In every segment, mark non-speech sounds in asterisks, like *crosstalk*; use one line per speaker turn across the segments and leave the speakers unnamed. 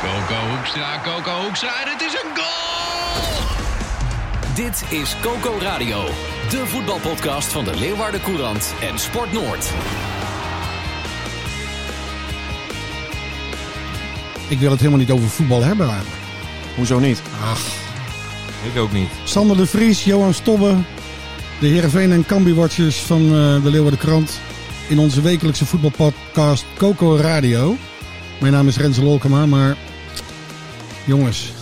Coco Hoekstra, Coco Hoekstra en het is een goal!
Dit is Coco Radio, de voetbalpodcast van de Leeuwarden Courant en Sport Noord.
Ik wil het helemaal niet over voetbal hebben eigenlijk.
Hoezo niet?
Ach.
Ik ook niet.
Sander de Vries, Johan Stobbe, de Heerenveen en Cambi-watchers van eh, de Leeuwarden Krant. In onze wekelijkse voetbalpodcast Coco Radio. Mijn naam is Rens Lolkema, maar jongens,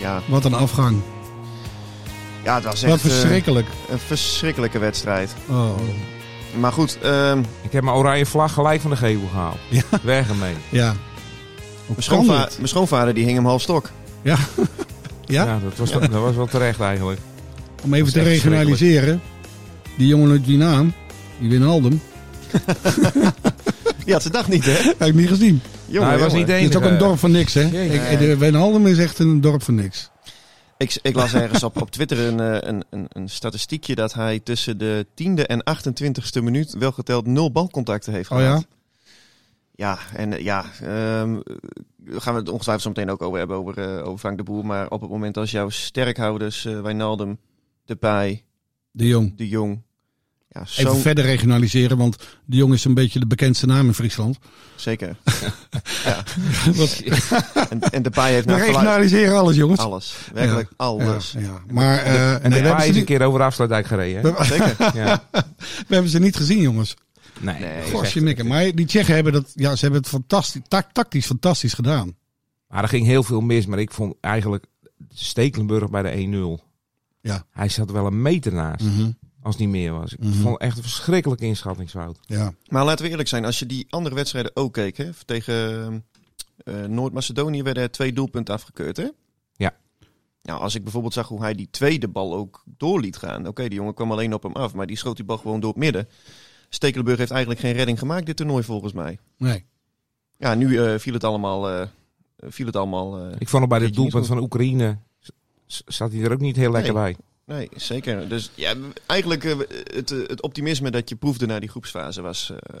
Ja,
wat een afgang.
ja het was echt
Wat
eh,
verschrikkelijk.
een verschrikkelijke wedstrijd.
Oh,
Maar goed, ehm
Ik heb mijn oranje vlag gelijk van de gevel gehaald.
Ja.
Weg ermee.
ja. Hoe
mijn,
kan
schoonva-
dit?
mijn schoonvader die hing hem half stok.
Ja. ja?
Ja, Nou, dat, was, dat was wel terecht eigenlijk.
Om even
is
te
echt
regionaliseren. Die jongen uit die naam, die Winaldum,
Die had zijn dag niet,
*laughs*
hè?
heb ik niet gezien.
Nou,
Jongen,
hij was niet de
jongen.
Het is
enige.
ook een dorp van niks, hè?
Jeetje.
Ik, de Wijnaldum is echt een dorp van niks.
Ik, ik las ergens op, op Twitter een, eh, een, een, een statistiekje dat hij tussen de 10e en 28e minuut wel geteld nul balcontacten heeft
Oh
gehad.
ja?
Ja, en eh, ja, ehm, daar gaan we het ongetwijfeld zo meteen ook over hebben, over, eh, over Frank de Boer. Maar op het moment als jouw sterkhouders, eh Wijnaldum, Depay,
De Jong.
De Jong... Ja,
Even
zo
verder regionaliseren, want de jongen is een beetje de bekendste naam in
*laughs*
Friesland. *laughs*
zeker.
Wat-
En, en
*laughs*
Depay heeft
We
naar geluid...
regionaliseren alles, jongens.
Alles. Werkelijk alles.
Ja, ja. Maar eh,
En
nee, we,
de
hebben
paai
ze
is een
niet,
keer over de afsluitdijk
*laughs*
gereden. hè?
Zeker.
Ja.
we hebben ze niet gezien, jongens.
Nee.
Nee,
dat is
Gorsje
echt-
mikken. Maar die Tsjechen hebben dat, ja, ze hebben het fantastisch, ta- tactisch fantastisch gedaan.
Maar er ging heel veel mis. Maar ik vond eigenlijk Stekelenburg bij de 1-0.
Ja. Mm.
Hij zat wel een meter naast.
Mhm.
Als het niet meer was. Ik
Mhm.
vond het echt een verschrikkelijke inschattingsfout.
Ja.
Maar laten we eerlijk zijn, als je die andere wedstrijden ook keek, hè, tegen eh, Noord-Macedonië werden er twee doelpunten afgekeurd, hè?
Ja.
Nou, als ik bijvoorbeeld zag hoe hij die tweede bal ook door liet gaan. Oké, die jongen kwam alleen op hem af, maar die schoot die bal gewoon door het midden. Stekelenburg heeft eigenlijk geen redding gemaakt dit toernooi volgens mij.
Nee.
Ja, nu eh, viel het allemaal... eh, viel het allemaal eh,
Ik vond hem bij
Weet
het
je niet
doelpunt van Oekraïne. z- z- Zat hij er ook niet heel lekker
Nee.
bij.
nee, zeker. Dus ja, eigenlijk eh, het, eh, het optimisme dat je proefde na die groepsfase was eh,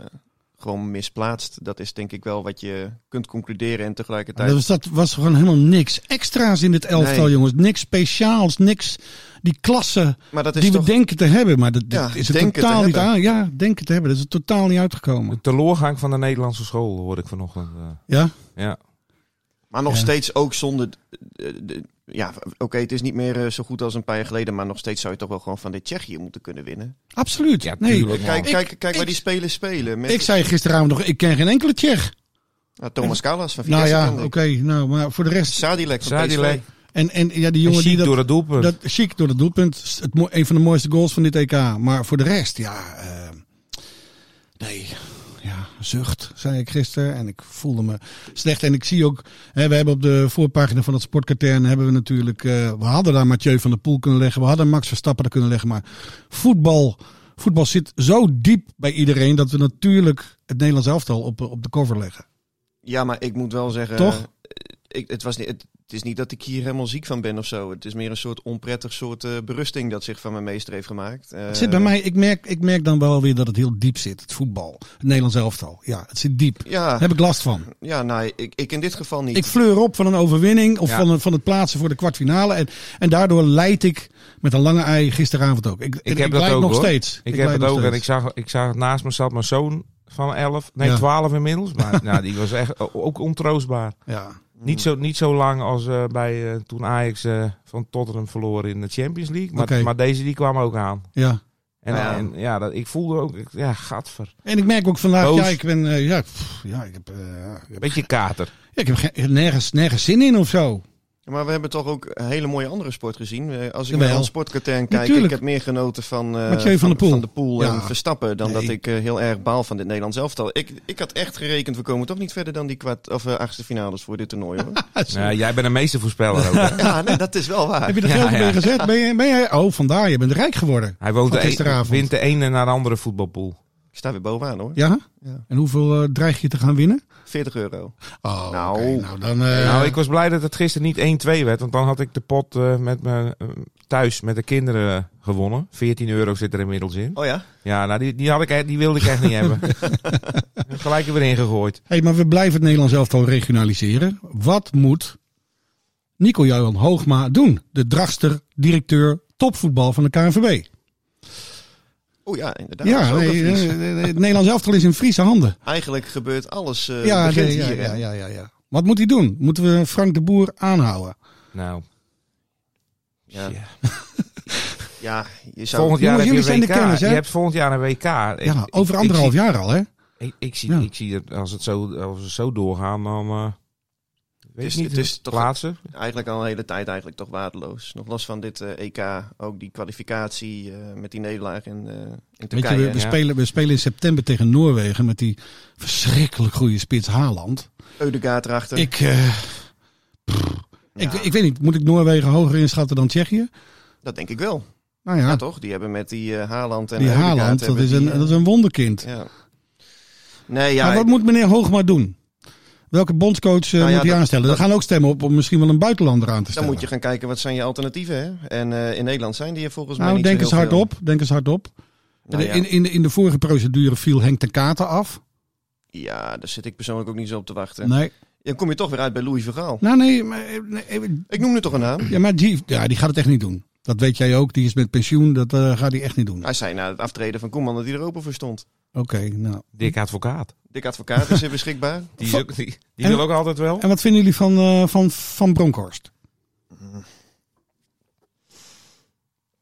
gewoon misplaatst. Dat is denk ik wel wat je kunt concluderen en
Maar
tegelijkertijd...
Dat was, dat was gewoon helemaal niks extra's in dit elftal,
Nee.
jongens. Niks speciaals, niks die klasse
Maar dat is
die
toch...
we denken te hebben. Maar dat,
Ja,
dat is het
denken te
totaal niet
hebben.
aan. Ja, denken te hebben. Dat is er totaal niet uitgekomen.
De teleurgang van de Nederlandse school hoorde ik vanochtend. eh.
Ja?
Ja.
Maar nog
Ja.
steeds ook zonder... eh, de- Ja, oké, het is niet meer eh, zo goed als een paar jaar geleden, maar nog steeds zou je toch wel gewoon van dit Tsjechië moeten kunnen winnen.
Absoluut.
Ja,
nee.
tuurlijk, man.
Kijk,
Ik-
kijk, kijk waar
ik-
die spelers spelen. Met
Ik zei gisteravond nog, ik ken geen enkele Tsjech.
Ah, Thomas Callas van
Nou
Vitesse.
ja, oké.
kende ik.
nou, maar voor de rest.
Sadilek van
Sadilek.
PSV.
En, en ja, die
En
jongen die
Schiek
dat,
door het doelpunt.
dat chic door het doelpunt. Het, mo- een van de mooiste goals van dit EK. Maar voor de rest, ja. eh, nee. Ja, zucht, zei ik gisteren. En ik voelde me slecht. En ik zie ook, hè, we hebben op de voorpagina van het sportkatern hebben we natuurlijk. eh, we hadden daar Mathieu van der Poel kunnen leggen. We hadden Max Verstappen er kunnen leggen. Maar voetbal, voetbal zit zo diep bij iedereen. dat we natuurlijk het Nederlands elftal op, op de cover leggen.
Ja, maar ik moet wel zeggen...
Toch?
eh, Ik, het, was niet, het, het is niet dat ik hier helemaal ziek van ben of zo. Het is meer een soort onprettig soort eh, berusting dat zich van mijn meester heeft gemaakt. Eh,
Het zit bij mij, ik merk, ik merk dan wel weer dat het heel diep zit. Het voetbal, het Nederlands elftal. Ja, het zit diep.
Ja,
Daar heb ik last van.
ja nou, ik, ik in dit geval niet.
Ik fleur op van een overwinning of
Ja.
van, een- van het plaatsen voor de kwartfinale. En, en daardoor leid ik met een lange ei gisteravond ook. Ik,
Ik heb dat
leid
ook,
nog
hoor.
steeds.
Ik, heb
leid
het
nog
ook en ik
steeds.
zag, ik zag naast me zat mijn zoon van 11, nee
Ja.
12 inmiddels.
*laughs*
Maar nou, die was echt o- ook ontroostbaar.
Ja.
Niet zo, niet zo lang als eh, bij, eh, toen Ajax eh, van Tottenham verloor in de Champions League. Maar,
Oké. Ah,
maar deze die kwam ook aan.
Ja.
En
Ja.
ja, en, ja dat, ik voelde ook, ik- ja, gadver.
En ik merk ook vandaag,
Boos.
ja, ik ben, eh, ja, pff, ja, ik heb, eh, ja, ik heb- *laughs*
Beetje kater.
ik heb ge- nergens, nergens zin in of zo.
Ja, maar we hebben toch ook een hele mooie andere sport gezien. Eh, Als ik
Jawel.
naar ons sportkatern kijk,
Natuurlijk.
ik heb meer genoten van, eh,
Mathieu van der Poel. Ja.
en Verstappen dan
Nee.
dat ik eh, heel erg baal van dit Nederlands elftal. Ik, ik had echt gerekend, we komen toch niet verder dan die kwart, of, eh, achtste finales voor dit toernooi
*laughs*
hoor.
Nou, jij bent een meestervoorspeller ook. hè?
ja, nee, dat is wel waar.
Heb je er
*laughs* Ja,
geld mee
ja.
gezet? Ben je, ben je, oh, vandaar, je bent rijk geworden.
Hij woont
Van
de een,
gisteravond.
wint de ene naar de andere voetbalpool.
Ik sta weer bovenaan hoor.
Ja?
Ja.
En hoeveel eh, dreig je te gaan winnen?
40 euro.
Oh,
Nou.
oké, nou dan... eh,
nou, ik was blij dat het gisteren niet 1-2 werd. Want dan had ik de pot eh, met me, eh, thuis met de kinderen eh, gewonnen. 14 euro zit er inmiddels in.
Oh ja?
Ja, nou, die, die, had ik, echt- die wilde ik echt niet
*laughs*
hebben. Gelijk er weer ingegooid.
hey, maar we blijven het Nederlands elftal regionaliseren. Wat moet Nico-Johan Hoogma doen? De dragster, directeur, topvoetbal van de KNVB.
Oh ja, inderdaad. dat is
Ja,
ook een
nee,
Fries.
eh, eh, het Nederlands elftal is in Friese handen.
Eigenlijk gebeurt alles. eh
ja,
begint
nee, ja,
hier. hè?
ja, ja, ja, ja. Wat moet hij doen? Moeten we Frank de Boer aanhouden?
Nou,
Ja.
ja.
Ja, je zou...
volgend jaar
Jongens,
heb je
jullie zijn de
WK.
kennis,
je
hè?
hebt volgend jaar een WK. Ik-
Ja,
ik-
over
ik
anderhalf
zie-
jaar al, hè?
Ik, ik zie,
Ja.
ik zie dat als, het zo, als we zo doorgaan, dan... eh weet
is-
ik niet,
het is toch-
plaatsen.
Eigenlijk al een hele tijd eigenlijk toch waardeloos. Nog los van dit eh, EK, ook die kwalificatie eh, met die nederlaag in, eh, in
Weet je,
Turkije.
we, we
ja.
spelen, we spelen in september tegen Noorwegen met die verschrikkelijk goede spits Haaland.
Eudegaard erachter.
Ik, eh, pff, ik, ik weet niet, moet ik Noorwegen hoger inschatten dan Tsjechië?
Dat denk ik wel.
Nou ja,
Ja, toch? Die hebben met die eh, Haaland en
die
Eudegaard
Haaland, dat
hebben
is, een,
die, eh,
dat is een wonderkind.
ja. Nee, ja,
maar wat
ik-
moet meneer Hoogma doen? Welke bondscoach eh,
Nou ja,
moet hij
dat-
aanstellen?
dat-
Daar gaan ook stemmen op om misschien wel een buitenlander aan te
dan
stellen.
moet je gaan kijken wat zijn je alternatieven. Hè? En eh, in Nederland zijn die er volgens mij
nou,
niet
denk
zo
eens
heel veel.
hardop. Denk eens hardop.
Nou ja.
in, in, de- in de vorige procedure viel Henk ten Katen af.
ja, daar zit ik persoonlijk ook niet zo op te wachten.
Nee.
Dan kom je toch weer uit bij Louis Vergaal.
Nou, nee, maar, eh, nee,
Ik noem nu toch een naam.
ja, maar die, ja, die gaat het echt niet doen. Dat weet jij ook. Die is met pensioen. Dat eh, gaat hij echt niet doen. Oké,
Hij zei na het aftreden van Koeman dat hij er open voor stond.
nou.
Dick Advocaat.
Dik
*laughs*
advocaat is er beschikbaar.
Die, is ook- die, die
En-
wil ook altijd wel.
En wat vinden jullie van, eh, van, van Bronkhorst?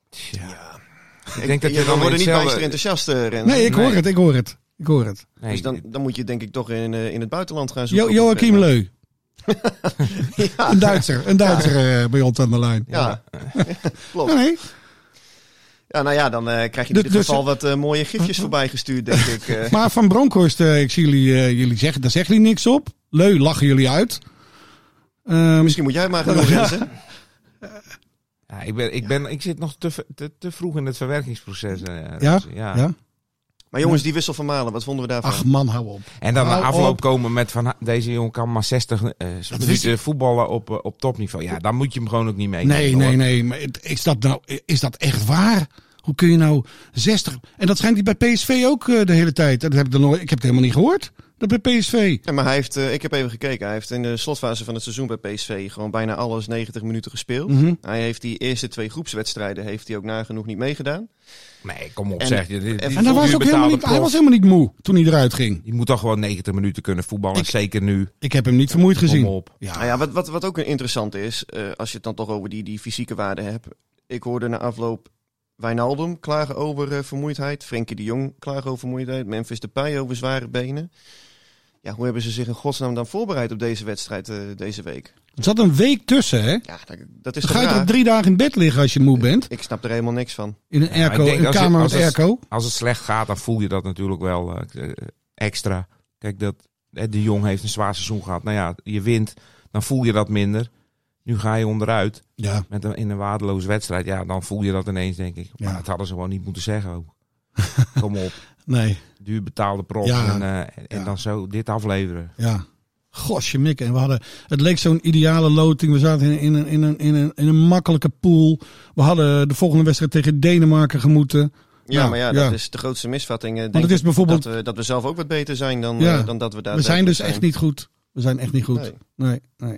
Tja.
Ik
denk dat je
we
dan
worden niet
hetzelfde-
bijster enthousiast, eh, Ren.
Nee, ik
Nee.
hoor het. Ik hoor het. Ik hoor het.
Nee,
dus dan, dan moet je denk ik toch in, eh, in het buitenland gaan
Jo
zoeken. eh,
Joachim Leu.
*laughs* Ja.
Een Duitser. Een Duitser eh, bij ons aan de lijn.
Ja,
Nee,
Oh.
klopt.
nee.
Ja, nou ja, dan eh, krijg je in
Dus-
ieder
dus-
geval wat eh, mooie
*laughs*
gifjes voorbij gestuurd, denk ik. eh.
Maar van Bronkhorst, eh, ik zie jullie, eh, jullie zeggen, daar zeggen jullie niks op. Leu lachen jullie uit. Ehm,
*laughs* Misschien moet jij het maar gaan doen, Renze.
Ja, ik, ben, ik, ben, ik zit nog te, v- te, te vroeg in het verwerkingsproces. eh,
ja?
Renze.
Ja.
Maar jongens, die wissel van Malen, wat vonden we daarvan?
Ach man, hou op.
En dan na
Hou
afloop
op.
komen met van ha- deze jongen kan maar 60 eh minuten voetballen op, eh, op topniveau. Ja, dan moet je hem gewoon ook niet mee.
Nee, nee, nee. Maar het- is dat nou, is dat echt waar? Hoe kun je nou 60? En dat schijnt hij bij PSV ook eh, de hele tijd. Dat heb ik, dan nooit, ik heb het helemaal niet gehoord. Dat bij PSV.
Ja, maar hij heeft, eh, ik heb even gekeken, hij heeft in de slotfase van het seizoen bij PSV gewoon bijna alles 90 minuten gespeeld.
Mhm.
Hij heeft die eerste twee groepswedstrijden heeft hij ook nagenoeg niet meegedaan.
Nee, kom op
En-
zeg. Dit, dit,
en
dit
En hij was, ook helemaal niet, hij was helemaal niet moe toen hij eruit ging.
Je moet toch gewoon 90 minuten kunnen voetballen.
Ik-
zeker nu.
Ik heb hem niet vermoeid
Kom
gezien.
op. Ah,
Ja.
Nou ja, wat, wat, wat ook interessant is, eh, als je het dan toch over die, die fysieke waarde hebt. Ik hoorde na afloop Wijnaldum klagen over eh, vermoeidheid. Frenkie de Jong klagen over vermoeidheid. Memphis Depay over zware benen. Ja, hoe hebben ze zich in godsnaam dan voorbereid op deze wedstrijd eh, deze week?
Er zat een week tussen, hè?
Ja, dat, dat is
Dan
toch
ga je toch
raar?
drie dagen in bed liggen als je moe bent?
Ik snap er helemaal niks van.
In een, airco,
ik denk
een
als je-
kamer
als
met
het-
airco?
Als het slecht gaat, dan voel je dat natuurlijk wel eh, eh, extra. Kijk, dat, eh, de Jong heeft een zwaar seizoen gehad. Nou ja, je wint, dan voel je dat minder. Nu ga je onderuit
Ja.
met een, in een waardeloze wedstrijd. Ja, dan voel je dat ineens, denk ik. Maar
Ja.
dat hadden ze gewoon niet moeten zeggen ook.
*laughs*
Kom op,
Nee.
duur betaalde prof.
Ja.
En, eh, en- en
Ja.
dan zo dit afleveren.
Ja. Gosje mikken. En we hadden, het leek zo'n ideale loting. We zaten in, in, een, in, een, in, een, in een makkelijke pool. We hadden de volgende wedstrijd tegen Denemarken gemoeten.
Ja,
Nou,
maar ja,
ja.
dat is de grootste misvatting. eh, denk
het is
ik,
bijvoorbeeld-
Dat we, dat we zelf ook wat beter zijn dan,
Ja.
eh, dan dat we daar
we zijn dus echt niet goed. We zijn echt niet goed. Nee,
Nee.
nee.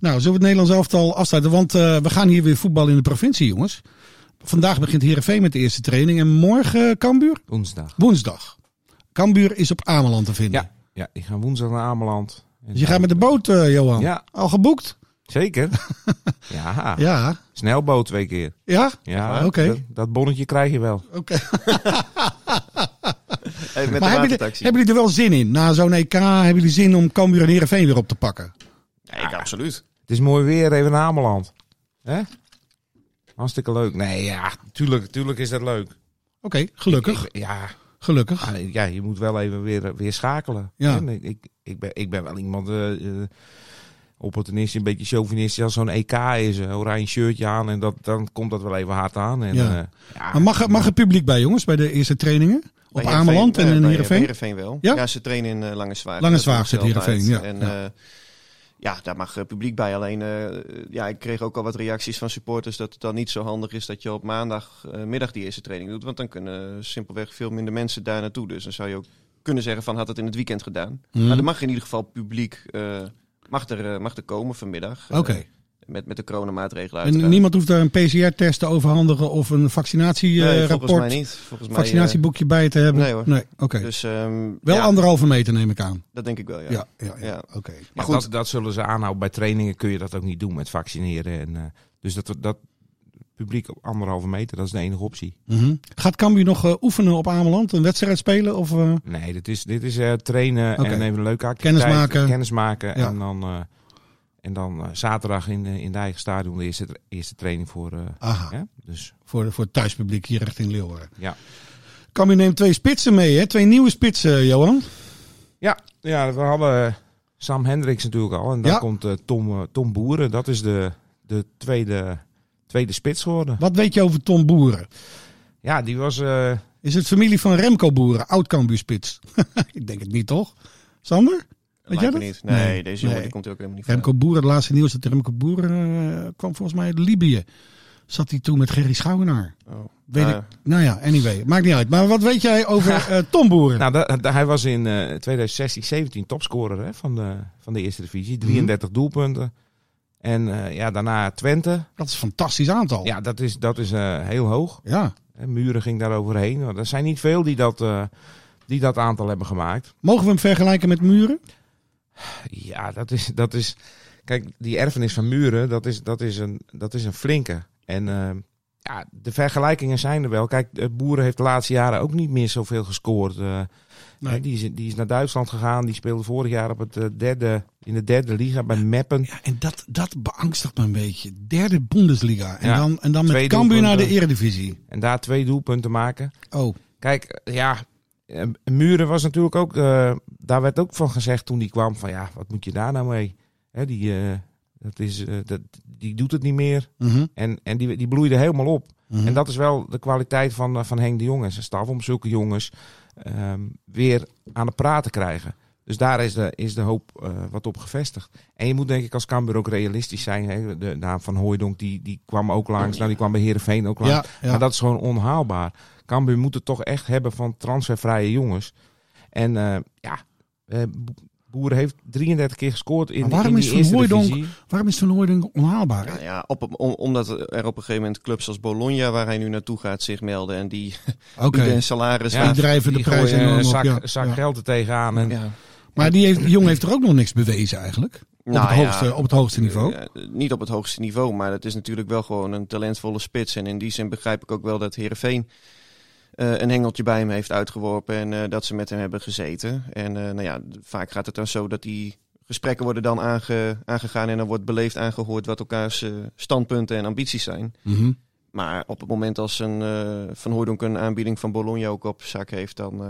Nou, zullen we het Nederlands elftal afsluiten? Want eh, we gaan hier weer voetbal in de provincie, jongens. Vandaag begint Heerenveen met de eerste training. En morgen eh, Cambuur?
Woensdag.
Woensdag. Cambuur is op Ameland te vinden.
Ja, ja ik ga woensdag naar Ameland. En
Dus je gaat met de boot, eh, Johan?
Ja.
Al geboekt?
Zeker.
*laughs*
ja.
Ja.
snelboot twee keer.
Ja?
Ja,
Oké.
dat, dat bonnetje krijg je wel.
Oké.
Hey,
Maar hebben
met de
jullie,
watertaxi.
hebben jullie er wel zin in? Na zo'n EK hebben jullie zin om Cambuur en Heerenveen weer op te pakken?
Ja, ik, absoluut.
Het Het is mooi weer, even naar Ameland. Hè? Hartstikke leuk. Nee, ja, tuurlijk, tuurlijk is dat leuk.
gelukkig.
Ik- ja,
Gelukkig.
Ah, Ja, je moet wel even weer, eh, weer schakelen.
Ja.
En Ik, ik, ik, ben, ik ben wel iemand, eh eh, opportunist, een beetje chauvinist. Als zo'n EK is, een oranje shirtje aan en dat, dan komt dat wel even hard aan. En,
Ja.
eh, ja,
Maar mag, er- mag er publiek bij, jongens, bij de eerste trainingen? Op
Bij
Ameland en
eh,
in
bij
Heerenveen?
Heerenveen wel.
Ja?
Ja? ze trainen in eh, Langeswaard.
Langeswaard
Dat
zit
is altijd.
Heerenveen, ja.
En,
Ja.
eh, ja, daar mag eh, publiek bij. Alleen, eh, ja, ik kreeg ook al wat reacties van supporters dat het dan niet zo handig is dat je op maandagmiddag die eerste training doet. Want dan kunnen simpelweg veel minder mensen daar naartoe. Dus dan zou je ook kunnen zeggen van had het in het weekend gedaan.
Hmm.
Maar er mag in ieder geval publiek eh, mag er, eh, mag er komen vanmiddag. eh,
Oké.
met, met de coronamaatregelen
En
uiteraard.
niemand hoeft daar een PCR-test te overhandigen of een eh,
Nee, volgens mij
vaccinatierapport,
niet. Volgens mij, eh,
vaccinatieboekje bij te hebben?
nee hoor.
oké.
dus, ehm,
Wel
ja,
anderhalve meter neem ik aan.
Dat denk ik wel,
Ja,
ja.
ja, ja.
Ja.
Oké.
maar
goed.
Dat, dat zullen ze aanhouden. Bij trainingen kun je dat ook niet doen met vaccineren. En, eh, dus dat, dat publiek op anderhalve meter, dat is de enige optie.
Mhm. Gaat Cambuur nog eh, oefenen op Ameland? Een wedstrijd spelen? Of, eh,
Nee, dit is, dit is eh, trainen
Oké.
en even een leuke activiteit.
Kennismaken.
Kennismaken.
Ja.
En dan, eh, en dan eh, zaterdag in, eh, in de eigen stadion de eerste, eerste training voor... eh,
Aha,
hè? Dus
voor, voor het thuispubliek hier richting Leeuwarden.
Ja.
Cambuur neemt twee spitsen mee, hè? Twee nieuwe spitsen, eh, Johan.
Ja, ja we hadden eh, Sam Hendricks natuurlijk al. En dan
Ja.
komt eh, Tom, eh, Tom Boeren. Dat is de, de tweede, tweede spits geworden.
Wat weet je over Tom Boeren?
Ja, die was... eh,
Is het familie van Remco Boeren, oud Cambuurspits? *laughs* ik denk het niet, toch? Sander? Weet
Lijkt
jij
me
dat?
niet. Nee,
Nee.
deze jongen
Nee.
die komt er ook helemaal niet van.
Remco Boeren, het laatste nieuws dat Remco Boeren eh, kwam volgens mij uit Libië. Zat hij toen met Gerry Schouwenaar.
Oh.
Weet
Ah,
ik. Nou ja, anyway, maakt niet uit. Maar wat weet jij
*laughs*
over eh, Tom Boeren?
nou, da- da- hij was in eh 2016, 17 topscorer hè, van, de, van de eerste divisie. 33 doelpunten. En eh, ja, daarna Twente.
dat is een fantastisch aantal.
Ja, dat is, dat is eh, heel hoog.
Ja.
Hè, Muren ging daar overheen. Nou, Er zijn niet veel die dat, eh, die dat aantal hebben gemaakt.
Mogen we hem vergelijken met Muren?
Ja, dat is, dat is. Kijk, die erfenis van Muren, dat is, dat is, een, dat is een flinke. En eh, ja, de vergelijkingen zijn er wel. Kijk, eh, Boeren heeft de laatste jaren ook niet meer zoveel gescoord. eh.
Nee.
Hè, die, is, die is naar Duitsland gegaan. Die speelde vorig jaar op het, eh, derde, in de derde liga bij Meppen.
Ja, en dat, dat beangstigt me een beetje. Derde Bundesliga. En
Ja.
dan, en dan met
Twee
Cambuur naar de
doelpunten.
Eredivisie.
En daar twee doelpunten maken.
Oh,
Kijk, eh, ja. eh, Muren was natuurlijk ook. eh, daar werd ook van gezegd toen die kwam: van ja, wat moet je daar nou mee? Hè, die, eh, dat is, eh, dat, die doet het niet meer.
mhm,
En, en die, die bloeide helemaal op.
mhm.
En dat is wel de kwaliteit van, eh, van Henk de Jong en zijn staf. Om zulke jongens ehm, weer aan het praten te krijgen. Dus daar is de, is de hoop eh, wat op gevestigd. En je moet denk ik als Cambuur ook realistisch zijn. Hè? De naam van Hooijdonk die, die kwam ook langs. Nou, die kwam bij Heerenveen ook langs.
ja, ja.
Maar dat is gewoon onhaalbaar. Cambuur moet het toch echt hebben van transfervrije jongens. En eh, ja, eh, Bo- Boer heeft 33 keer gescoord in,
Maar waarom
in die
is Van
eerste
Hooijdonk-
divisie.
Waarom is Van Hooydonk onhaalbaar?
Nou ja, op, om- omdat er op een gegeven moment clubs als Bologna, waar hij nu naartoe gaat, zich melden. En die
Oké,
bieden een salaris.
Ja,
die
waar-
drijven de
Die gooien
prijs
een
enorm op.
zak,
Ja.
zak
ja.
geld er tegenaan. En,
ja.
Maar die, heeft, die jongen heeft er ook nog niks bewezen eigenlijk.
Nou
op, het
ja,
hoogste, op het hoogste niveau.
eh, eh, niet op het hoogste niveau, maar het is natuurlijk wel gewoon een talentvolle spits. En in die zin begrijp ik ook wel dat Heerenveen eh, een hengeltje bij hem heeft uitgeworpen. En eh, dat ze met hem hebben gezeten. En eh, nou ja, d- vaak gaat het dan zo dat die gesprekken worden dan aange- aangegaan. En dan wordt beleefd aangehoord wat elkaars eh, standpunten en ambities zijn.
Mhm.
Maar op het moment als een eh, Van Hooydonk een aanbieding van Bologna ook op zak heeft, dan, eh,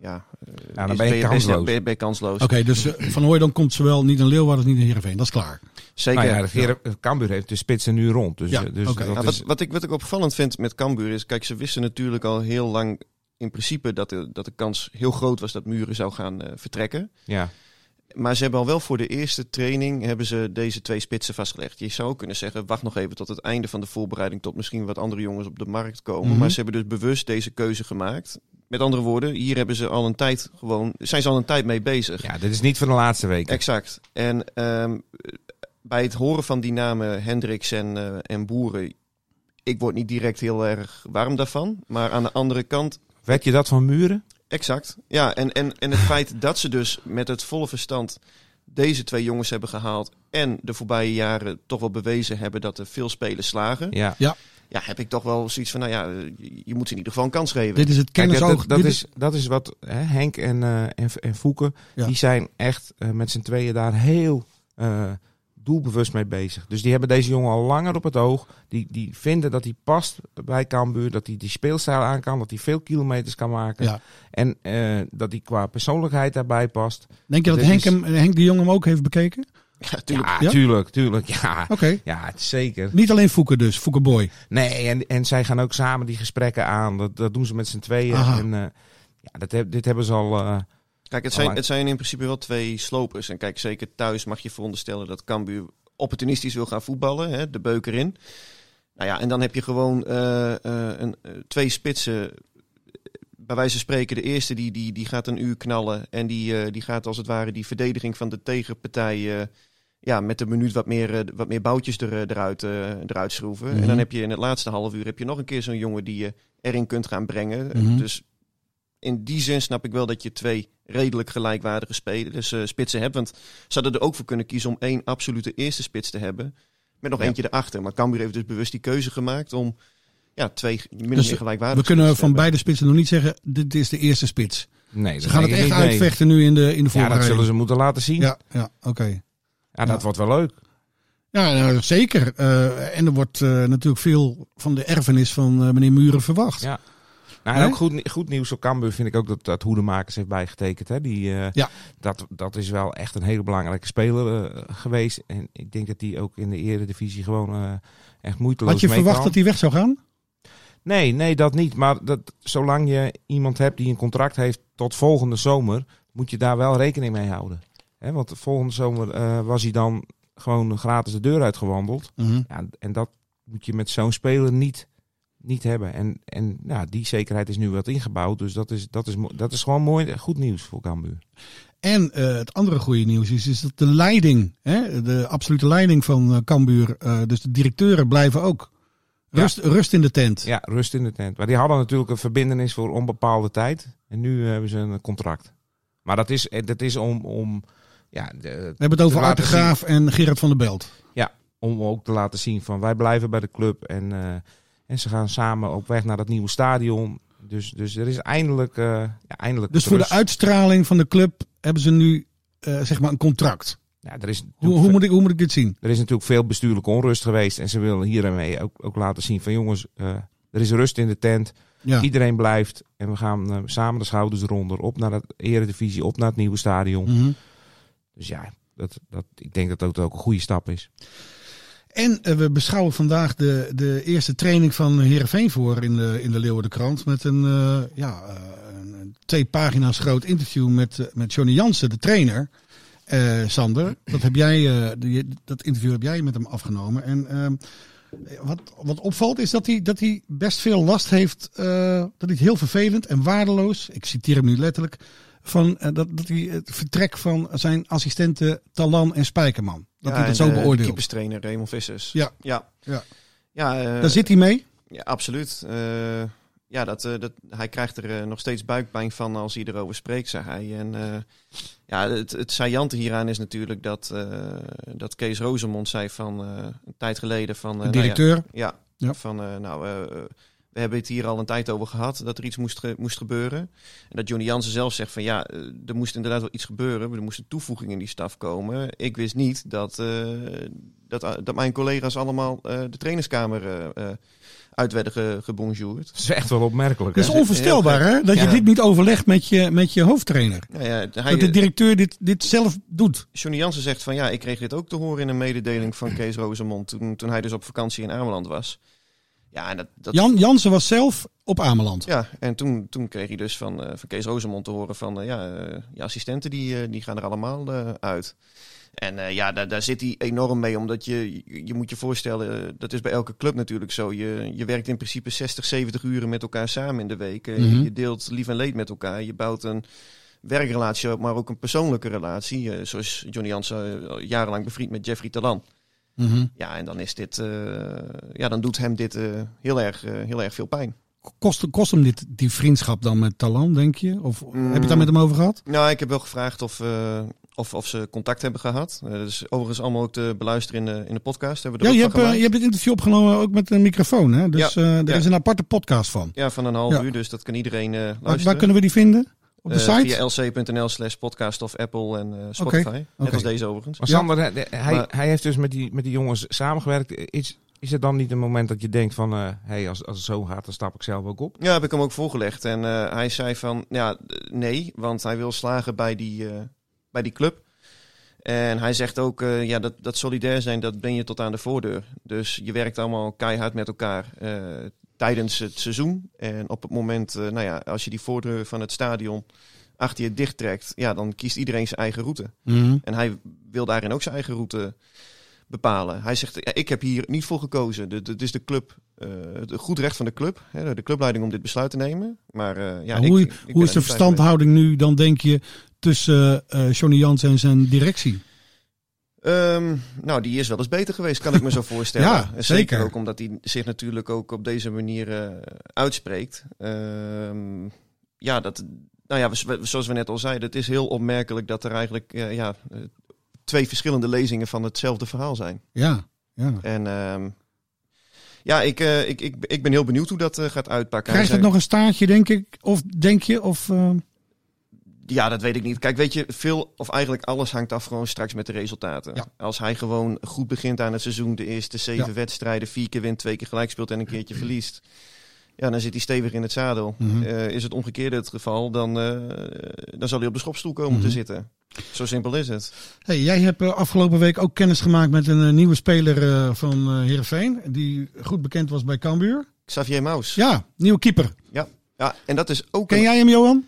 ja, eh,
Nou, dan
is-
ben je
ben, ben-
kansloos.
ben- ben je kansloos.
Oké, dus eh, Van Hooydonk komt zowel niet in Leeuwarden als niet in Heerenveen. Dat is klaar.
Zeker.
nou ja, de Veren- Cambuur heeft de spitsen nu rond. Dus,
Ja,
eh, dus
oké.
dat
Nou,
is,
wat, wat, ik, wat ik opvallend vind met Cambuur is, kijk, ze wisten natuurlijk al heel lang in principe dat de, dat de kans heel groot was dat Muren zou gaan eh, vertrekken.
ja.
Maar ze hebben al wel voor de eerste training hebben ze deze twee spitsen vastgelegd. Je zou ook kunnen zeggen, wacht nog even tot het einde van de voorbereiding, tot misschien wat andere jongens op de markt komen.
Mhm.
Maar ze hebben dus bewust deze keuze gemaakt. Met andere woorden, hier hebben ze al een tijd gewoon, zijn ze al een tijd mee bezig.
ja, dit is niet van de laatste week.
Exact. En ehm, bij het horen van die namen Hendricks en, eh, en Boeren, ik word niet direct heel erg warm daarvan. Maar aan de andere kant,
Werd je dat van Muren?
exact. Ja, en, en, en het feit dat ze dus met het volle verstand deze twee jongens hebben gehaald. En de voorbije jaren toch wel bewezen hebben dat er veel spelers slagen.
Ja.
Ja, heb ik toch wel zoiets van, nou ja, eh, je moet ze in ieder geval een kans geven.
Dit is het
Kijk, dat,
kennisoog.
dat, dat
dit
is, dat is wat hè, Henk en, eh en, en Fouke,
Ja.
die zijn echt eh, met z'n tweeën daar heel eh, doelbewust mee bezig. Dus die hebben deze jongen al langer op het oog. Die, die vinden dat hij past bij Cambuur. Dat hij die speelstijl aan kan. Dat hij veel kilometers kan maken.
Ja.
En eh, dat hij qua persoonlijkheid daarbij past.
Denk je dat
Dit
Henk,
is-
hem, Henk de Jong hem ook heeft bekeken?
Ja,
Ja?
tuurlijk, tuurlijk. Ja,
Oké.
ja het is zeker.
Niet alleen Fokker dus, Fokker Boy.
Nee, en, en zij gaan ook samen die gesprekken aan. Dat, dat doen ze met z'n tweeën.
Aha.
En, eh, ja, dat heb, dit hebben ze al... eh,
Kijk, het
Allang.
zijn, het zijn in principe wel twee slopers. En kijk, zeker thuis mag je veronderstellen dat Cambuur opportunistisch wil gaan voetballen. Hè, de beuker in. Nou ja, en dan heb je gewoon eh, eh, een, eh, twee spitsen. Bij wijze van spreken, de eerste die, die, die gaat een uur knallen. En die, eh, die gaat als het ware die verdediging van de tegenpartij... eh, ja, met een minuut wat meer, eh, wat meer boutjes er, eh, eruit, eh, eruit schroeven.
Mhm.
En dan heb je in het laatste half uur heb je nog een keer zo'n jongen die eh, je erin kunt gaan brengen.
Mhm.
Dus in die zin snap ik wel dat je twee redelijk gelijkwaardige spelers, eh, spitsen hebt. Want ze hadden er ook voor kunnen kiezen om één absolute eerste spits te hebben. Met nog eentje erachter. Maar Cambuur heeft dus bewust die keuze gemaakt om ja, twee min of
Dus
meer
We
gelijkwaardige
kunnen
spitsen
van
te hebben.
beide spitsen nog niet zeggen, dit is de eerste spits.
nee,
Ze
dat
gaan
denk
het
ik
echt
niet, nee.
uitvechten nu in de, in de
Ja, dat
voorbereiding.
zullen ze moeten laten zien. Ja,
Ja, ja oké.
dat
Ja.
wordt wel leuk.
Ja, nou, zeker. Eh, en er wordt eh, natuurlijk veel van de erfenis van eh, meneer Muren verwacht.
Ja. Nou, en
Hè?
ook goed, nie- goed nieuws op Cambuur vind ik ook dat, dat Hoedemakers heeft bijgetekend. Hè? Die, eh,
Ja.
dat, dat is wel echt een hele belangrijke speler eh, geweest. En ik denk dat die ook in de eredivisie gewoon eh, echt moeiteloos
Had je
mee
verwacht
kan.
dat hij weg zou gaan?
Nee, nee, dat niet. Maar dat, zolang je iemand hebt die een contract heeft tot volgende zomer, moet je daar wel rekening mee houden. Hè? Want volgende zomer eh, was hij dan gewoon gratis de deur uitgewandeld. Ja, en dat moet je met zo'n speler niet, niet hebben. En, en ja, die zekerheid is nu wat ingebouwd. Dus dat is, dat is, mo- dat is gewoon mooi, goed nieuws voor Cambuur.
En eh, het andere goede nieuws is, is dat de leiding, hè, de absolute leiding van eh, Cambuur, eh, dus de directeuren blijven ook.
Ja.
Rust, rust in de tent.
Ja, rust in de tent. Maar die hadden natuurlijk een verbindenis voor onbepaalde tijd. En nu hebben ze een contract. Maar dat is, eh, dat is om, om, ja, de-
We hebben het over
Te
Art de
laten
Graaf en Gerard van der Belt. Dus
om ook te laten zien van wij blijven bij de club. En, eh, en ze gaan samen op weg naar dat nieuwe stadion. Dus, dus er is eindelijk, eh, ja, eindelijk
Dus voor de
rust.
uitstraling van de club hebben ze nu eh, zeg maar een contract.
Ja, er is
Hoe, hoe, moet, ik, hoe moet ik dit zien?
Er is natuurlijk veel bestuurlijke onrust geweest. En ze willen hiermee ook, ook laten zien van jongens, eh, er is rust in de tent.
Ja.
Iedereen blijft. En we gaan eh, samen de schouders eronder. Op naar de eredivisie, op naar het nieuwe stadion.
Mhm.
Dus ja, dat, dat, ik denk dat dat ook een goede stap is.
En eh, we beschouwen vandaag de, de eerste training van Heerenveen voor in de, in de Leeuwardenkrant. Met een, eh, ja, eh, een- een twee pagina's groot interview met, eh, met Johnny Jansen, de trainer. Eh, Sander, dat, heb jij, eh, die- dat interview heb jij met hem afgenomen. En ehm, wat, wat opvalt is dat hij, dat hij best veel last heeft. eh, dat hij het heel vervelend en waardeloos, ik citeer hem nu letterlijk, van, eh, dat, dat hij het vertrek van zijn assistenten Talan en Spijkerman. Dat
Ja,
hij dat
en eh,
zo
de- De
beoordeelt.
keeperstrainer Raymond Vissers.
Ja.
Ja.
Ja.
Ja, eh,
Daar zit hij mee.
ja, absoluut. Eh, ja, dat, eh, dat, hij krijgt er eh, nog steeds buikpijn van als hij erover spreekt, zei hij. En eh, ja, het, het saillante hieraan is natuurlijk dat, eh, dat Kees Rozemond zei van eh, een tijd geleden van... eh,
De
nou ja,
directeur.
Ja,
Ja.
van eh, nou, eh, we hebben het hier al een tijd over gehad dat er iets moest, ge- moest gebeuren. En dat Johnny Jansen zelf zegt van ja, eh, er moest inderdaad wel iets gebeuren. Er moest een toevoeging in die staf komen. Ik wist niet dat, eh, dat, eh, dat mijn collega's allemaal eh, de trainerskamer eh, eh, uit werden ge, gebonjourd.
Dat is echt wel opmerkelijk.
Dat is
Ja, heel
onvoorstelbaar, hè? Dat je
Ja.
dit niet overlegt met je, met je hoofdtrainer.
Nou ja, hij,
Dat de directeur dit, dit zelf doet.
Johnny Jansen zegt van ja, ik kreeg dit ook te horen in een mededeling van Kees Rozemond toen, toen hij dus op vakantie in Ameland was. Ja, en dat, dat,
Jan, Jansen was zelf op Ameland.
Ja, en toen, toen kreeg hij dus van, eh, van Kees Rozemond te horen van... eh, ja, eh, je assistenten die, eh, die gaan er allemaal eh, uit. En eh, ja, daar, daar zit hij enorm mee, omdat je, je- je moet je voorstellen... eh, dat is bij elke club natuurlijk zo. Je, je werkt in principe 60, 70 uren met elkaar samen in de week. Eh,
Mhm.
Je deelt lief en leed met elkaar. Je bouwt een werkrelatie, maar ook een persoonlijke relatie. Eh, zoals Johnny Jansen eh, jarenlang bevriend met Jeffrey Talan.
Mhm.
Ja, en dan is dit... eh, ja, dan doet hem dit eh, heel, erg, eh, heel erg veel pijn.
Kost, kost hem dit, die vriendschap dan met Talan, denk je? Of
Mm.
heb je het daar met hem over gehad?
Nou, ik heb wel gevraagd of, eh, of, of ze contact hebben gehad. Eh, dat is overigens allemaal ook te beluisteren in de, in de podcast. Hebben we
Ja,
er
je
ook
hebt,
van
eh, je
gemaakt.
hebt het interview opgenomen ook met een microfoon, hè? Dus eh er
ja.
is een aparte podcast van.
Ja, van een half
Ja.
uur, dus dat kan iedereen eh,
Waar,
luisteren.
waar kunnen we die vinden? Op de
Eh,
site?
Via lc.nl slash podcast of Apple en eh, Spotify. Net
oké.
als deze overigens.
Maar
Ja.
Sander, eh, de- hij,
Maar-
hij heeft dus met die, met die jongens samengewerkt. Is, is het dan niet een moment dat je denkt van... eh hey, als, als het zo gaat, dan stap ik zelf ook op?
Ja, heb ik hem ook voorgelegd. En eh, hij zei van, ja, eh, nee, want hij wil slagen bij die, eh, bij die club. En hij zegt ook, eh, ja, dat, dat solidair zijn, dat ben je tot aan de voordeur. Dus je werkt allemaal keihard met elkaar eh, tijdens het seizoen. En op het moment, eh, nou ja, als je die voordeur van het stadion achter je dicht trekt, ja, dan kiest iedereen zijn eigen route.
Mhm.
En hij wil daarin ook zijn eigen route bepalen. Hij zegt, ja, ik heb hier niet voor gekozen. Dit dit is de club, eh, het goed recht van de club, hè, de clubleiding om dit besluit te nemen. Maar eh, ja,
Maar Nou, hoe
ik- ik
hoe is de
ben er niet bij geweest.
verstandhouding nu dan, denk je, tussen eh, Johnny Jans en zijn directie?
Ehm, nou, die is wel eens beter geweest, kan
*laughs*
ik me zo voorstellen.
Ja,
En
zeker.
ook omdat hij zich natuurlijk ook op deze manier eh, uitspreekt. Ehm, ja, dat, nou ja, we- we- zoals we net al zeiden, het is heel opmerkelijk dat er eigenlijk eh, ja, eh, twee verschillende lezingen van hetzelfde verhaal zijn.
Ja, ja.
En ehm, ja, ik, eh, ik, ik, ik ben heel benieuwd hoe dat eh, gaat uitpakken.
Krijgt
Hij
het nog een staartje, denk ik? Of denk je? Of, eh,
zei- Ja, dat weet ik niet. Kijk, weet je, veel of eigenlijk alles hangt af gewoon straks met de resultaten.
Ja.
Als hij gewoon goed begint aan het seizoen, de eerste zeven
Ja.
wedstrijden, vier keer wint, twee keer gelijk speelt en een keertje verliest. Ja, dan zit hij stevig in het zadel.
Mhm.
Eh, is het omgekeerde het geval, dan, eh, dan zal hij op de schopstoel komen
Mhm.
te zitten. Zo simpel is het.
hey, jij hebt eh, afgelopen week ook kennis gemaakt met een eh, nieuwe speler eh, van eh Heerenveen. Die goed bekend was bij Cambuur.
Xavier Maus. Ja.
Ja, nieuwe keeper.
en dat is ook
Ken
een
jij hem, Johan?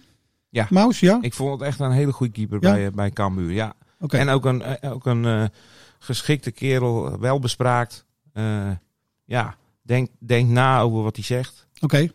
Ja.
Maus, ja?
Ik vond het echt een hele goede keeper
Ja?
bij, eh, bij Cambuur, ja.
Oké.
En ook een, eh, ook een eh, geschikte kerel, welbespraakt. Eh, ja, denk, denk na over wat hij zegt.
Oké. *laughs*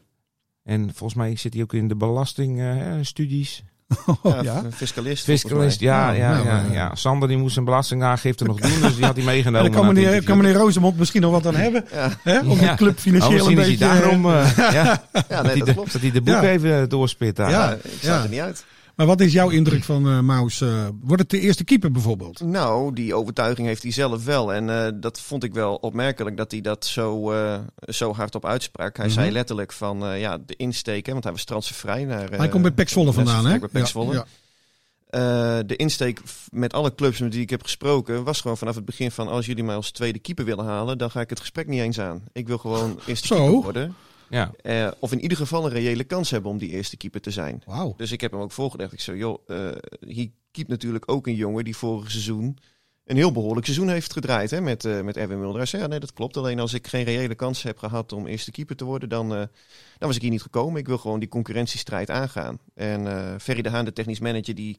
En volgens mij zit hij ook in de eh, belastingstudies.
ja,
oh, ja.
f- fiscalist. volgens
Fiscalist,
mij.
ja,
Nou,
ja,
nou,
ja,
eh.
ja. Sander die moest zijn belastingaangifte nog doen, dus
*laughs*
die had hij
En dan kan
meegenomen. naar het
meneer,
interview.
kan meneer Rosemond misschien nog wat aan hebben.
Ja.
Hè? Om
Ja.
de club
Oh,
financieel een
misschien is
beetje...
hij daarom
*laughs*
eh, ja,
mij. Ja, nee,
*laughs* die
dat
de-
klopt.
dat hij de boek
Ja.
even eh, doorspit daar.
Ja.
Ja, ik sta
ja.
er niet uit.
Maar wat is jouw indruk van eh, Maus? eh, wordt het de eerste keeper bijvoorbeeld?
Nou, die overtuiging heeft hij zelf wel. En eh, dat vond ik wel opmerkelijk dat hij dat zo, eh, zo hard op uitsprak. Hij zei
Mhm.
letterlijk van eh, ja, de insteek, hè, want hij was transfervrij naar. eh,
Hij komt bij Pek Zwolle
naar zijn
vandaan, hè?
vertrek bij Pek Zwolle.
Ja,
Eh, de insteek f- met alle clubs met die ik heb gesproken was gewoon vanaf het begin van als jullie mij als tweede keeper willen halen, dan ga ik het gesprek niet eens aan. Ik wil gewoon eerste
Zo.
keeper worden.
Ja.
Eh, of in ieder geval een reële kans hebben om die eerste keeper te zijn.
Wauw.
Dus ik heb hem ook voorgelegd. Ik zei, joh, eh hier keept natuurlijk ook een jongen die vorig seizoen een heel behoorlijk seizoen heeft gedraaid hè, met, eh, met Erwin Mulder. Hij zei, ja, nee, dat klopt. Alleen als ik geen reële kans heb gehad om eerste keeper te worden, dan, eh, dan was ik hier niet gekomen. Ik wil gewoon die concurrentiestrijd aangaan. En eh, Ferry de Haan, de technisch manager, die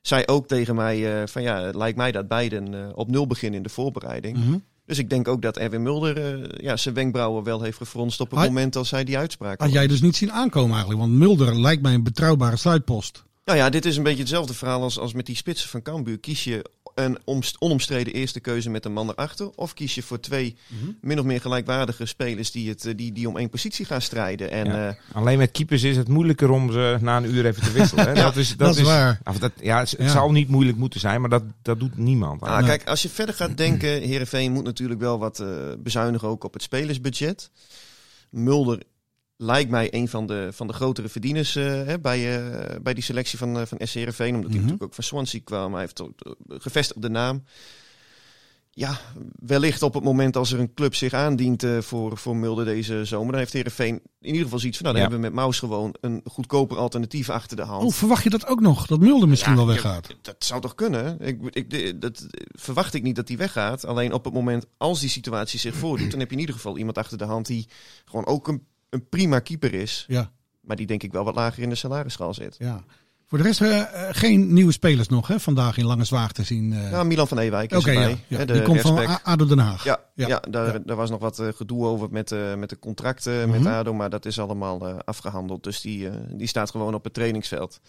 zei ook tegen mij eh, van ja, het lijkt mij dat beiden eh, op nul beginnen in de voorbereiding.
Mhm.
Dus ik denk ook dat Erwin Mulder eh, ja, zijn wenkbrauwen wel heeft gefronst op het
Hij-
moment als hij die uitspraak
Had
hoorde.
jij dus niet zien aankomen eigenlijk? Want Mulder lijkt mij een betrouwbare sluitpost.
Nou ja, dit is een beetje hetzelfde verhaal als, als met die spitsen van Cambuur. Kies je een omst- onomstreden eerste keuze met een man erachter? Of kies je voor twee min of meer gelijkwaardige spelers die, het, eh, die, die om één positie gaan strijden? En eh,
Ja.
ja,
Alleen met keepers is het moeilijker om ze na een uur even te wisselen.
*laughs*
Hè? dat is, dat
dat is waar.
Of dat, ja, het, het
Ja.
zal niet moeilijk moeten zijn, maar dat, dat doet niemand.
ah,
eh,
kijk, als je verder gaat denken, *clears throat* Herenveen moet natuurlijk wel wat eh, bezuinigen ook op het spelersbudget. Mulder lijkt mij een van de, van de grotere verdieners eh, hè, bij, eh, bij die selectie van, eh, van SC Heerenveen. Omdat
Mhm.
hij natuurlijk ook van Swansea kwam. Hij heeft ook, eh, gevestigd op de naam. Ja, wellicht op het moment als er een club zich aandient eh, voor, voor Mulder deze zomer. Dan heeft Heerenveen in ieder geval zoiets van... Nou, dan
Ja.
hebben we met Maus gewoon een goedkoper alternatief achter de hand.
Oh, verwacht je dat ook nog? Dat Mulder misschien
Ja,
wel
ik heb-
weggaat?
Dat zou toch kunnen? Ik, ik, de- dat verwacht ik niet dat die weggaat. Alleen op het moment als die situatie zich voordoet... dan heb je in ieder geval iemand achter de hand die gewoon ook een, een prima keeper is.
Ja,
Maar die denk ik wel wat lager in de salarisschaal zit.
ja. Voor de rest eh, eh, geen nieuwe spelers nog hè? vandaag in Lange Zwaag te zien. eh.
Ja, Milan van Ewijk Nou, is
Oké,
erbij.
ja, ja.
Hè, de
die komt van
rechtsback.
A- ADO Den Haag.
Ja,
Ja.
ja. daar,
Ja.
daar was nog wat eh, gedoe over met, eh, met de contracten
Mhm.
met ADO, maar dat is allemaal eh, afgehandeld. Dus die, eh, die staat gewoon op het trainingsveld.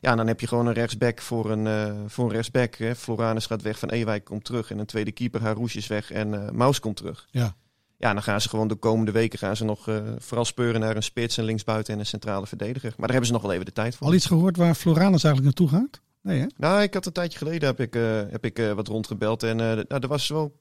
Ja, en dan heb je gewoon een rechtsback voor een, eh, voor een rechtsback. Hè. Floranus gaat weg, Van Ewijk komt terug. En een tweede keeper, Harouche is weg en eh Maus komt terug.
Ja.
Ja, en dan gaan ze gewoon de komende weken gaan ze nog eh, vooral speuren naar een spits, een linksbuiten en een centrale verdediger. Maar daar hebben ze nog wel even de tijd voor.
Al iets gehoord waar Floranus eigenlijk naartoe gaat? Nee hè?
Nou, ik had een tijdje geleden heb ik, eh, heb ik eh, wat rondgebeld. En eh, nou, er was wel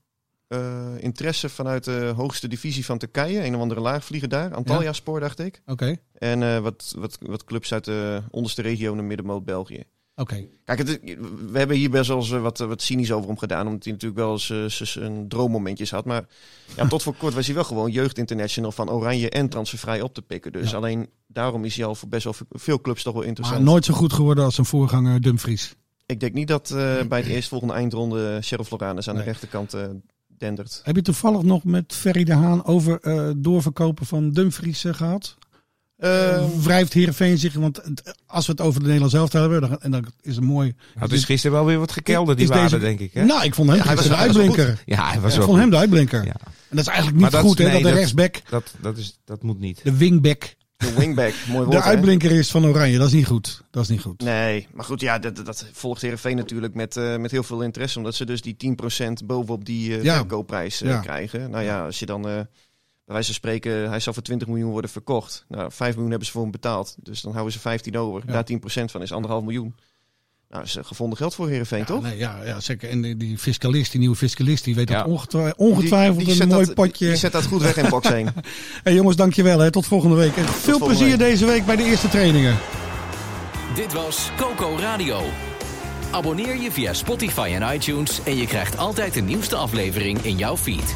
eh, eh, interesse vanuit de hoogste divisie van Turkije. Een of andere laagvlieger daar. Antalya Spoor, dacht ik.
Oké,
En eh, wat, wat, wat clubs uit de onderste regionen, middenmoot België.
oké.
Kijk, het, is- we hebben hier best wel eens eh, wat, wat cynisch over hem gedaan. Omdat hij natuurlijk wel eens eh, z- zijn droommomentjes had. Maar
*laughs*
ja, tot voor kort was hij wel gewoon jeugdinternational van Oranje en transfervrij op te pikken. Dus
Ja.
alleen daarom is hij al voor best wel veel clubs toch wel
Maar
interessant.
nooit zo goed geworden als zijn voorganger Dumfries.
Ik denk niet dat eh, bij
*clears throat*
de eerstvolgende eindronde Sheriff Loranus aan
Nee.
de rechterkant eh, dendert.
Heb je toevallig nog met Ferry de Haan over eh, doorverkopen van Dumfries eh, gehad? Ehm,
Eh,
Wrijft Heerenveen zich, want het- als we het over de Nederlands zelf hebben, dan, en dan is het mooi.
Nou, het is gisteren wel weer wat gekelderd, die
Is deze-
waarde, denk ik. Hè?
Nou, ik vond hem, hij was
was-
de
hij was
uitblinker.
Ja, hij
Ik
was
vond
wel
hem de
goed.
uitblinker.
Ja,
En dat is eigenlijk niet
Maar dat
goed,
is-
hè?
nee,
dat de
dat-
rechtsback,
dat, dat, is, dat moet niet.
de wingback,
de
*laughs*
wingback, mooi woord.
de
hè?
uitblinker is van Oranje. Dat is niet goed. Dat is niet goed.
Nee, maar goed, ja, dat, dat volgt Heerenveen natuurlijk met, eh, met heel veel interesse. Omdat ze dus die 10% bovenop die eh
Ja.
verkoopprijs eh,
Ja.
krijgen. Nou ja, als je dan, eh, bij wijze van spreken, hij zal voor 20 miljoen worden verkocht. Nou, 5 miljoen hebben ze voor hem betaald. Dus dan houden ze 15 over.
Ja.
Daar 10% van is 1,5 miljoen. Nou, dat is eh, gevonden geld voor Heerenveen,
Ja,
toch?
nee, ja, ja, zeker. En die, die fiscalist, die nieuwe fiscalist, die weet
Ja.
dat ongetwij- ongetwijfeld
Die- die
een
zet
mooi
dat-
potje.
Die zet dat goed weg in box
*laughs*
1.
Hey, jongens, dankjewel. Hè. Tot volgende week. En veel
volgende
plezier
week.
deze week bij de eerste trainingen.
Dit was Coco Radio. Abonneer je via Spotify en iTunes en je krijgt altijd de nieuwste aflevering in jouw feed.